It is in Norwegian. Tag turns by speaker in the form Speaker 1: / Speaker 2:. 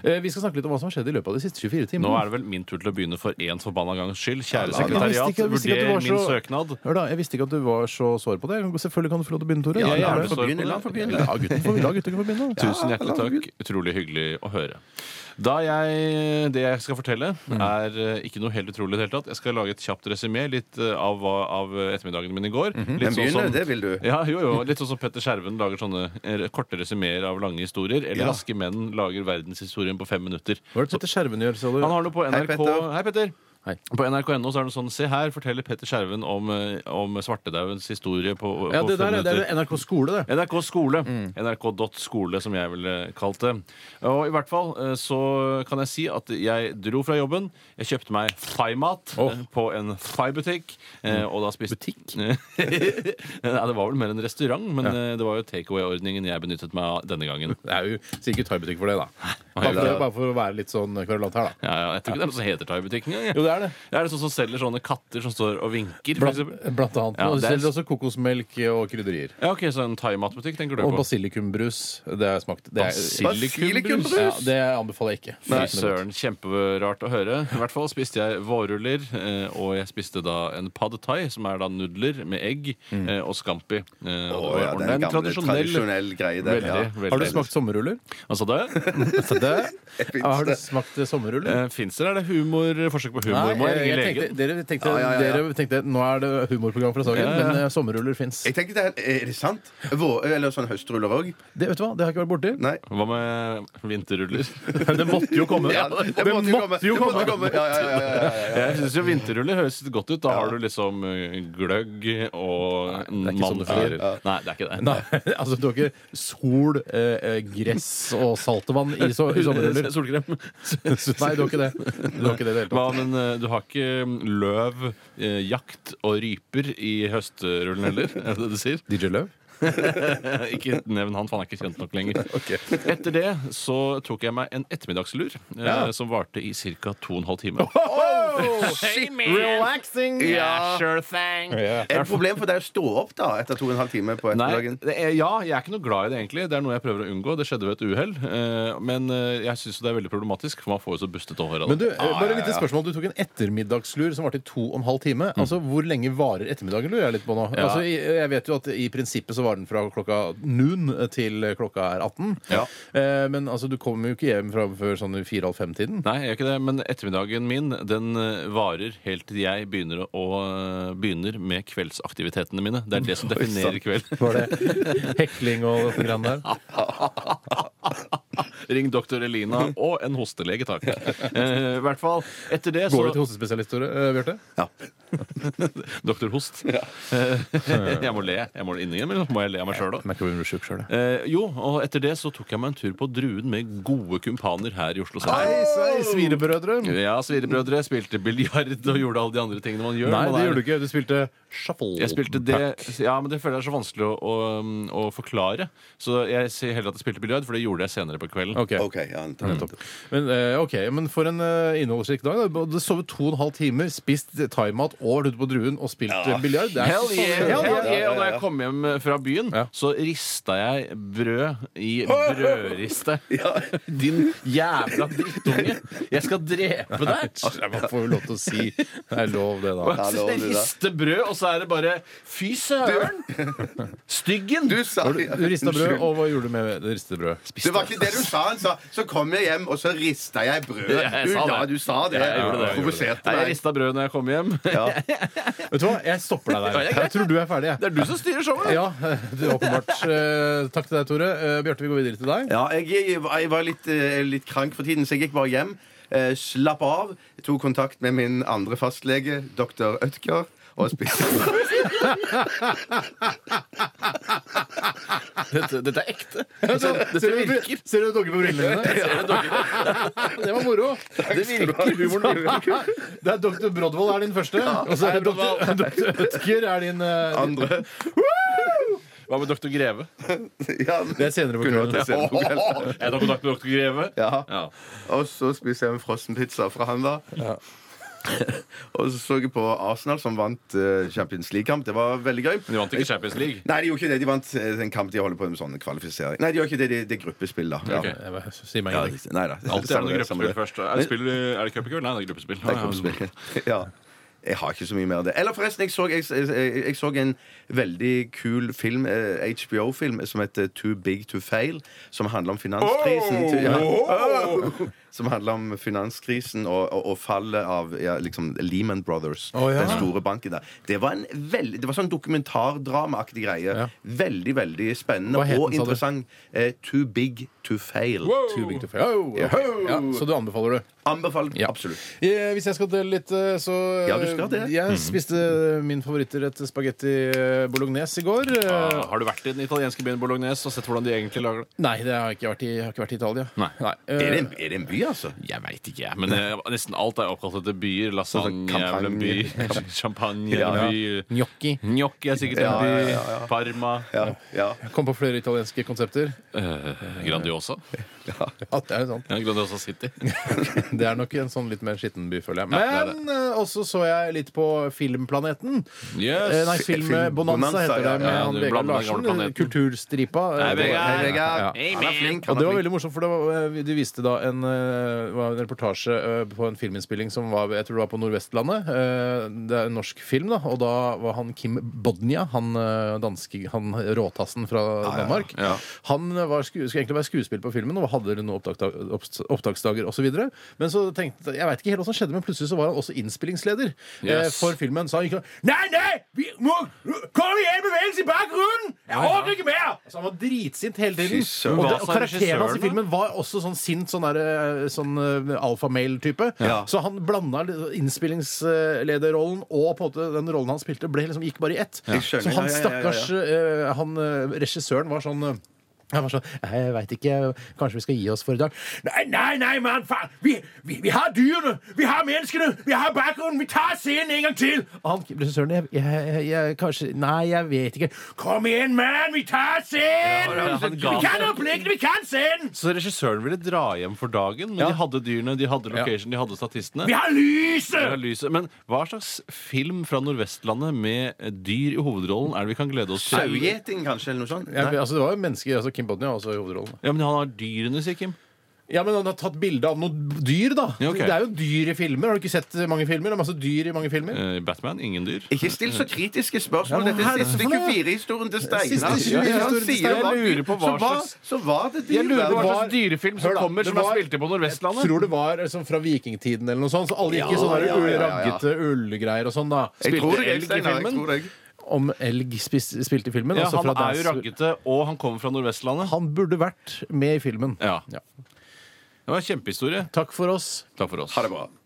Speaker 1: Eh, Vi skal snakke litt om hva som har skjedd i løpet av de siste 24 timene.
Speaker 2: Nå er det vel min tur til å begynne for én forbanna gangs skyld. Kjære
Speaker 1: Jeg visste
Speaker 2: sekretariat,
Speaker 1: ikke- jeg visste ikke at du
Speaker 2: vurder
Speaker 1: var
Speaker 2: min
Speaker 1: så-
Speaker 2: søknad.
Speaker 1: Hør da, jeg visste ikke at du var så sår på det. Selvfølgelig kan du få lov til å begynne, Tore.
Speaker 2: Ja,
Speaker 1: Jeg
Speaker 2: ja,
Speaker 1: er
Speaker 2: det
Speaker 1: med.
Speaker 2: står-
Speaker 3: Begynn, la han få begynne.
Speaker 1: La gutten få, la gutten få begynne.
Speaker 2: Tusen hjertelig takk. Utrolig hyggelig å høre. Da jeg, Det jeg skal fortelle,
Speaker 1: Mm.
Speaker 2: er eh, ikke noe helt utrolig i det hele tatt. Jeg skal lage et kjapt resymé litt eh, av, hva- av ettermiddagen min i går.
Speaker 1: Mhm.
Speaker 2: Litt sånn
Speaker 3: Men begynn, det vil du.
Speaker 2: Ja, jo, jo. Litt sånn som Petter Skjerven lager sånne eh, korte resymeer av lange historier. Eller Raske menn lager verdenshistorien på fem minutter.
Speaker 1: Hva er det Petter Skjerven gjør, sa du?
Speaker 2: Han har noe på NRK
Speaker 3: Petter.
Speaker 2: Hei, Petter.
Speaker 1: Hei.
Speaker 2: På nrk.no så er det noe sånn Se her forteller Petter Skjerven om, eh, om svartedaudens historie på, på
Speaker 1: Ja, det
Speaker 2: fem
Speaker 1: der er, Mm. det
Speaker 2: minutter.
Speaker 1: er NRK skole, det.
Speaker 2: NRK skole. NRK.skole, som jeg ville kalt det. Og i hvert fall eh, så kan jeg si at jeg dro fra jobben. Jeg kjøpte meg thaimat
Speaker 1: Åh. Mm.
Speaker 2: eh, på en thaibutikk. eh, Og da spiste
Speaker 1: Butikk?
Speaker 2: Nei, det var vel mer en restaurant, men eh, det var jo takeaway-ordningen jeg benyttet meg av denne gangen.
Speaker 1: Det er jo sikkert thaibutikk for det, da. Bare for,
Speaker 2: Eller-
Speaker 1: bare for å være litt sånn kverulant her, da.
Speaker 2: Ja, ja, jeg tror ikke det er noe som heter thaibutikk engang. jeg.
Speaker 1: Jo, det er det.
Speaker 2: Det er det sånn som selger sånne katter som står og vinker, for
Speaker 1: Blant,
Speaker 2: eksempel.
Speaker 1: blant annet.
Speaker 2: Ja,
Speaker 1: og de
Speaker 2: det er-
Speaker 1: selger også kokosmelk og krydderier.
Speaker 2: Ja, ok, så en thaimatbutikk tenker du
Speaker 1: Og
Speaker 2: på?
Speaker 1: basilikumbrus. Det har jeg smakt. Det er,
Speaker 2: Basilikumbrus?
Speaker 1: ja, det anbefaler jeg ikke.
Speaker 2: Fy
Speaker 1: Det er ikke noe godt.
Speaker 2: søren, kjemperart å høre. I hvert fall spiste jeg vårruller, eh, og jeg spiste da en pad thai, som er da nudler med egg
Speaker 1: Mm.
Speaker 2: eh, og scampi. Eh, og det
Speaker 3: Å,
Speaker 2: var-
Speaker 3: ja,
Speaker 2: og det er
Speaker 3: den
Speaker 2: en
Speaker 3: gamle, tradisjonell greie der.
Speaker 2: Veldig,
Speaker 3: ja.
Speaker 2: veldig.
Speaker 1: Har du smakt sommerruller?
Speaker 2: Hva sa du?
Speaker 1: Altså, det-
Speaker 3: finnes
Speaker 1: Har du
Speaker 3: det.
Speaker 1: smakt sommerruller?
Speaker 2: Eh, Fins det, eller er det humor, forsøk på humor? Må jeg
Speaker 1: jeg,
Speaker 2: ringe
Speaker 1: jeg
Speaker 2: legen?
Speaker 1: tenkte, dere, tenkte,
Speaker 3: Ja, ja, ja, ja.
Speaker 1: dere tenkte nå er det humorprogram fra Sagen,
Speaker 2: Ja, ja, ja.
Speaker 1: men eh, sommerruller fins.
Speaker 3: Jeg tenkte, det er er det sant? Vå, eller sånn høstruller òg?
Speaker 1: Det, vet du hva, det har jeg ikke vært borti.
Speaker 3: Nei.
Speaker 2: Hva med vinterruller?
Speaker 1: Det måtte jo komme.
Speaker 3: Ja,
Speaker 1: det,
Speaker 3: det
Speaker 1: måtte jo komme!
Speaker 3: Ja, ja, ja, ja, ja, ja.
Speaker 2: Jeg syns jo vinterruller høres godt ut. Da har du liksom eh, gløgg og
Speaker 1: det er ikke sånn det
Speaker 2: mandler.
Speaker 1: fungerer.
Speaker 2: Nei, det er ikke det.
Speaker 1: Nei, altså du har ikke sol, eh, eh, gress og saltvann i, so i sommerruller.
Speaker 2: Solkrem.
Speaker 1: Nei, du har ikke det. Du har ikke det i det hele tatt.
Speaker 2: Hva, men eh, du har ikke mm, løv, eh, jakt og ryper i høstrullen heller? Er det det du sier?
Speaker 1: DJ Løv?
Speaker 2: ikke nevn han, for han er ikke kjent nok lenger. Etter det så tok jeg meg en ettermiddagslur eh, som varte i ca. 2 12 timer.
Speaker 1: Relaxing!
Speaker 2: Yeah, sure thing!
Speaker 3: Er det et problem for deg å stå opp da etter to og en halv time på
Speaker 2: Nei,
Speaker 3: ettermiddagen?
Speaker 2: det er, ja, jeg er ikke noe glad i det, egentlig. Det er noe jeg prøver å unngå. Det skjedde ved et uhell. eh, Men eh, jeg syns det er veldig problematisk, for man får jo så bustete hår av
Speaker 1: Men du,
Speaker 2: det.
Speaker 1: eh, bare et lite spørsmål. Du tok en ettermiddagslur som varte i to og en halv time. Altså, Hvor lenge varer ettermiddagen, lurer jeg litt på nå.
Speaker 2: Mm. Ja.
Speaker 1: Altså, i- jeg vet jo at i prinsippet så varer den fra klokka noon til klokka er 18.
Speaker 2: Ja.
Speaker 1: Eh, Men altså, du kommer jo ikke hjem fra før sånn i fire-halv fem-tiden.
Speaker 2: Nei, jeg gjør ikke det, men ettermiddagen min den eh, varer helt til jeg begynner, å, eh, begynner med kveldsaktivitetene mine. Det er det som definerer kveld.
Speaker 1: Var det hekling og noe grann
Speaker 2: Altså-
Speaker 1: der?
Speaker 2: Ring doktor Elina og en hostelege, takk. Eh, I hvert fall. Etter det så
Speaker 1: Går du til hostespesialist, Tore? eh, Bjarte?
Speaker 2: Doktor Host. Eh, jeg må le. Jeg må innimellom eller må jeg le av meg sjøl òg.
Speaker 1: Merker du blir sjuk sjøl,
Speaker 2: Eh, jo, og etter det så tok jeg meg en tur på Druen med gode kumpaner her i Oslo sentrum.
Speaker 1: Svirebrødre?
Speaker 2: Ja, svirebrødre. Spilte biljard og gjorde alle de andre tingene man gjør.
Speaker 1: Nei,
Speaker 2: Man
Speaker 1: det
Speaker 2: er-
Speaker 1: gjorde du ikke. Du spilte shuffle.
Speaker 2: Jeg spilte det Ja, men det føler jeg er så vanskelig å, å, um, å forklare. Så jeg sier heller at jeg spilte biljard, for det gjorde jeg senere på kvelden.
Speaker 1: Ok.
Speaker 3: OK. Ja, nettopp.
Speaker 1: Men, eh, ok, men for en eh, innholdsrik dag. da. Du har sovet to og en halv timer, spist thaimat og vært ute på Druen og spilt eh, biljard. Det er
Speaker 2: Hell
Speaker 1: ikke
Speaker 2: yeah!
Speaker 1: sånn-
Speaker 2: Hell
Speaker 1: Hell
Speaker 2: yeah. Og da jeg kom hjem fra byen,
Speaker 1: Ja.
Speaker 2: så rista jeg brød i brødriste. Din jævla drittunge! Jeg skal drepe deg!
Speaker 1: yeah. Altså, Man får jo lov til å si det er lov, det, da.
Speaker 3: Ja, lov, du, da.
Speaker 2: Riste brød, og så er det bare Fy søren! Styggen!
Speaker 3: Du sa
Speaker 1: Har Du, du rista brød, og hva gjorde du med det ristede brødet?
Speaker 3: Det var ikke det du sa. Han sa så kom jeg hjem, og så rista jeg brødet.
Speaker 2: Ja, jeg
Speaker 3: Du,
Speaker 2: sa det.
Speaker 3: ja, du sa det.
Speaker 2: Ja, jeg gjorde det, jeg gjorde det.
Speaker 3: Provoserte
Speaker 2: Nei, jeg
Speaker 3: meg.
Speaker 2: rista brød når jeg kom hjem.
Speaker 1: Vet du hva, jeg stopper deg der. Jeg tror du er ferdig, jeg.
Speaker 2: Det er du som styrer showet!
Speaker 1: Ja, det er åpenbart. Eh, Takk til deg, Tore. Eh, Bjarte, vi går videre til deg.
Speaker 3: Ja, jeg, jeg, var- jeg var litt, eh, litt krank for tiden, så jeg gikk bare hjem. Eh, slapp av. Tok kontakt med min andre fastlege, dr. Ødker. Og spiste
Speaker 2: Dette, dette er ekte.
Speaker 1: Ser
Speaker 2: Dette, dette
Speaker 1: du-
Speaker 2: virker.
Speaker 1: Ser du dogger på brillene dine? Det var moro.
Speaker 2: Det virker.
Speaker 1: Det er Dr. Brodvold er din første, og så er det Dr. Dr. Ødker er din eh,
Speaker 3: andre.
Speaker 2: Hva med doktor Greve?
Speaker 3: Ja,
Speaker 1: Det er senere på
Speaker 3: kunne
Speaker 1: kvelden.
Speaker 3: vært senere på kvelden.
Speaker 2: Jeg tar kontakt med doktor Greve.
Speaker 3: Ja.
Speaker 2: Ja.
Speaker 3: Og så spiser jeg en frossenpizza fra han, da. Og så så jeg på Arsenal, som vant eh, Champions League-kamp. Det var veldig gøy.
Speaker 2: Men de vant ikke Champions League.
Speaker 3: Nei, de gjorde ikke det. De vant eh, en kamp de holder på med sånn kvalifisering. Nei, de gjør ikke det. Det det er gruppespill, da. Ja.
Speaker 2: Ok.
Speaker 1: Jeg bare- Si meg
Speaker 3: Ja,
Speaker 1: ingenting.
Speaker 3: det- nei da.
Speaker 2: Alltid er det noe gruppespill først. Er det, spill, er det cup i kveld? Nei, det er gruppespill.
Speaker 3: Det er gruppespill. Ja. Jeg har ikke så mye mer av det. Eller forresten, jeg så, jeg, jeg, jeg så en veldig kul film, eh, HBO-film, som heter Too Big to Fail, som handler om finanskrisen. til- ja. Som handler om finanskrisen og, og, og fallet av ja, liksom Lehman Brothers.
Speaker 1: Å, ja.
Speaker 3: Den store banken der. Det var en veld, det var sånn dokumentardramaaktig greie.
Speaker 1: Ja.
Speaker 3: Veldig, veldig spennende
Speaker 1: Hva het
Speaker 3: og
Speaker 1: den, sa du?
Speaker 3: interessant. Eh, too Big to Fail.
Speaker 1: Too big to fail. Oh, ok. ja, så du anbefaler det?
Speaker 3: Anbefalt.
Speaker 1: Ja.
Speaker 3: Absolutt.
Speaker 1: Eh, Hvis jeg skal dele litt, eh, så eh,
Speaker 3: Ja, du skal det.
Speaker 1: Jeg spiste min favorittrett spagetti eh, bolognese i går. Eh,
Speaker 2: Ah, Har du vært i den italienske byen Bolognese og sett hvordan de egentlig lager det?
Speaker 1: Nei, det har jeg ikke vært i, jeg har ikke vært i Italia.
Speaker 2: Nei.
Speaker 1: eh,
Speaker 3: Er det, en, er det en by, altså?
Speaker 2: Jeg veit ikke, jeg. Men eh, nesten alt er oppkalt etter byer. Lasagne
Speaker 3: Sånn
Speaker 2: er vel en by. Champagne er
Speaker 1: Ja.
Speaker 2: en by.
Speaker 1: Gnocchi.
Speaker 2: Gnocchi er sikkert
Speaker 3: Ja,
Speaker 2: en by.
Speaker 3: ja, ja, ja.
Speaker 2: Parma.
Speaker 3: Ja, ja.
Speaker 1: Kom på flere italienske konsepter.
Speaker 2: Eh, Grandiosa.
Speaker 1: Ja, det er jo sant.
Speaker 2: Ja, Grandiosa City.
Speaker 1: Det er nok en sånn litt mer skitten by, føler jeg.
Speaker 2: Ja, det er
Speaker 1: Men eh, også så jeg litt på Filmplaneten. Eh,
Speaker 2: Yes.
Speaker 1: Nei,
Speaker 3: Filmbonanza,
Speaker 1: Filmbonanza heter det,
Speaker 3: ja,
Speaker 1: med
Speaker 2: ja,
Speaker 1: han
Speaker 2: du
Speaker 1: Vegard
Speaker 2: blander den gamle
Speaker 1: Larsen.
Speaker 2: planeten.
Speaker 1: Kulturstripa. eh,
Speaker 2: Hei,
Speaker 1: det var-
Speaker 2: Vegard.
Speaker 3: Hei, Vegard.
Speaker 2: Ja.
Speaker 3: Han er flink.
Speaker 1: Og det
Speaker 3: Han er
Speaker 1: var
Speaker 3: flink.
Speaker 1: veldig morsomt, for det var, eh, de viste da en, eh, var en reportasje eh, på en filminnspilling som var, jeg tror det var på Nordvestlandet. Eh, Det er en norsk film, da, og da var han Kim Bodnia, han eh, danske, han råtassen fra Danmark.
Speaker 2: ja.
Speaker 1: Han eh, var sku, skulle egentlig være skuespiller på filmen og hadde noen opptak, opps- opptaksdager osv. Men så tenkte jeg vet ikke helt hva som skjedde, men plutselig så var han også innspillingsleder eh,
Speaker 2: Yes.
Speaker 1: for filmen. Så han gikk og Nei, nei! Vi må Kom igjen, bevegelse i bakgrunnen! Jeg orker ikke mer! Så han var dritsint hele tiden.
Speaker 3: Fy søren.
Speaker 1: Og,
Speaker 2: Hva
Speaker 1: det, og
Speaker 2: sa
Speaker 1: karakteren hans
Speaker 2: regissøren,
Speaker 1: i
Speaker 2: da?
Speaker 1: filmen var også sånn sint, sånn, der, eh, sånn eh, alfamale-type.
Speaker 3: Ja.
Speaker 1: Så han blanda litt innspillingslederrollen og på en måte den rollen han spilte, ble liksom, gikk bare i ett.
Speaker 3: Jeg
Speaker 1: Så
Speaker 3: skjønner.
Speaker 1: han
Speaker 3: Ja, ja, ja, ja, ja.
Speaker 1: stakkars eh, han, eh, regissøren var sånn eh, han var sånn Jeg veit ikke. Kanskje vi skal gi oss for i dag? Nei, nei, nei, mann! Faen! Vi, vi, vi har dyrene! Vi har menneskene! Vi har bakgrunnen! Vi tar scenen en gang til! Og han regissøren jeg, jeg, jeg, jeg Kanskje Nei, jeg vet ikke. Kom igjen, mann! Vi tar scenen!
Speaker 2: Ja, ja, han ga
Speaker 1: vi
Speaker 2: seg.
Speaker 1: kan øyeblikkene! Vi kan scenen!
Speaker 2: Så regissøren ville dra hjem for dagen, men
Speaker 1: Ja.
Speaker 2: de hadde dyrene, de hadde location, de hadde statistene.
Speaker 1: Vi har lyset!
Speaker 2: Det er lyset. Men hva slags film fra Nordvestlandet med dyr i hovedrollen er det vi kan glede oss til?
Speaker 3: Sauegjeting, kanskje, eller noe sånt?
Speaker 1: Ja, men, altså, det var jo mennesker, altså Kim Bodnia også i hovedrollen.
Speaker 2: Ja, men han har dyrene, sier Kim.
Speaker 1: Ja, men han har tatt bilde av noen dyr, da.
Speaker 2: Ja, ok.
Speaker 1: Det er jo dyr i filmer. Har du ikke sett mange filmer? Det er masse dyr i mange filmer.
Speaker 2: Eh, Batman, ingen dyr.
Speaker 3: Ikke still så kritiske spørsmål.
Speaker 1: Ja, men
Speaker 3: Dette er
Speaker 1: herre,
Speaker 3: siste
Speaker 1: for noe?
Speaker 3: 24-historien til
Speaker 1: Siste
Speaker 3: Steinar.
Speaker 1: 24-historien
Speaker 3: Ja, han
Speaker 1: til
Speaker 3: sier
Speaker 1: Steinar.
Speaker 3: hva-
Speaker 2: Jeg lurer på hva
Speaker 3: så var-
Speaker 2: slags-
Speaker 3: Så var det de
Speaker 2: Jeg lurer på
Speaker 1: Det
Speaker 2: hva
Speaker 1: var-
Speaker 2: slags dyrefilm som
Speaker 1: Hør da,
Speaker 2: kommer
Speaker 1: det
Speaker 2: som er
Speaker 1: var-
Speaker 2: spilt inn på Nordvestlandet.
Speaker 1: Tror det var liksom, fra vikingtiden eller noe sånt. Så alle gikk i
Speaker 3: Ja,
Speaker 1: sånne
Speaker 3: ja, ja, ja, ja.
Speaker 1: raggete ullgreier og sånn, da.
Speaker 3: Jeg tror
Speaker 2: Spilte
Speaker 3: deg,
Speaker 2: elg i
Speaker 3: Steinar. Jeg
Speaker 2: filmen?
Speaker 3: tror deg.
Speaker 1: Om elg spis- spilte i filmen.
Speaker 2: Ja,
Speaker 1: altså
Speaker 2: han
Speaker 1: fra
Speaker 2: er jo
Speaker 1: Dance-
Speaker 2: raggete, og han kommer fra Nordvestlandet.
Speaker 1: Han burde vært med i filmen.
Speaker 2: Ja. Det var en kjempehistorie.
Speaker 1: Takk for oss.
Speaker 2: Takk for oss.
Speaker 3: Ha det bra.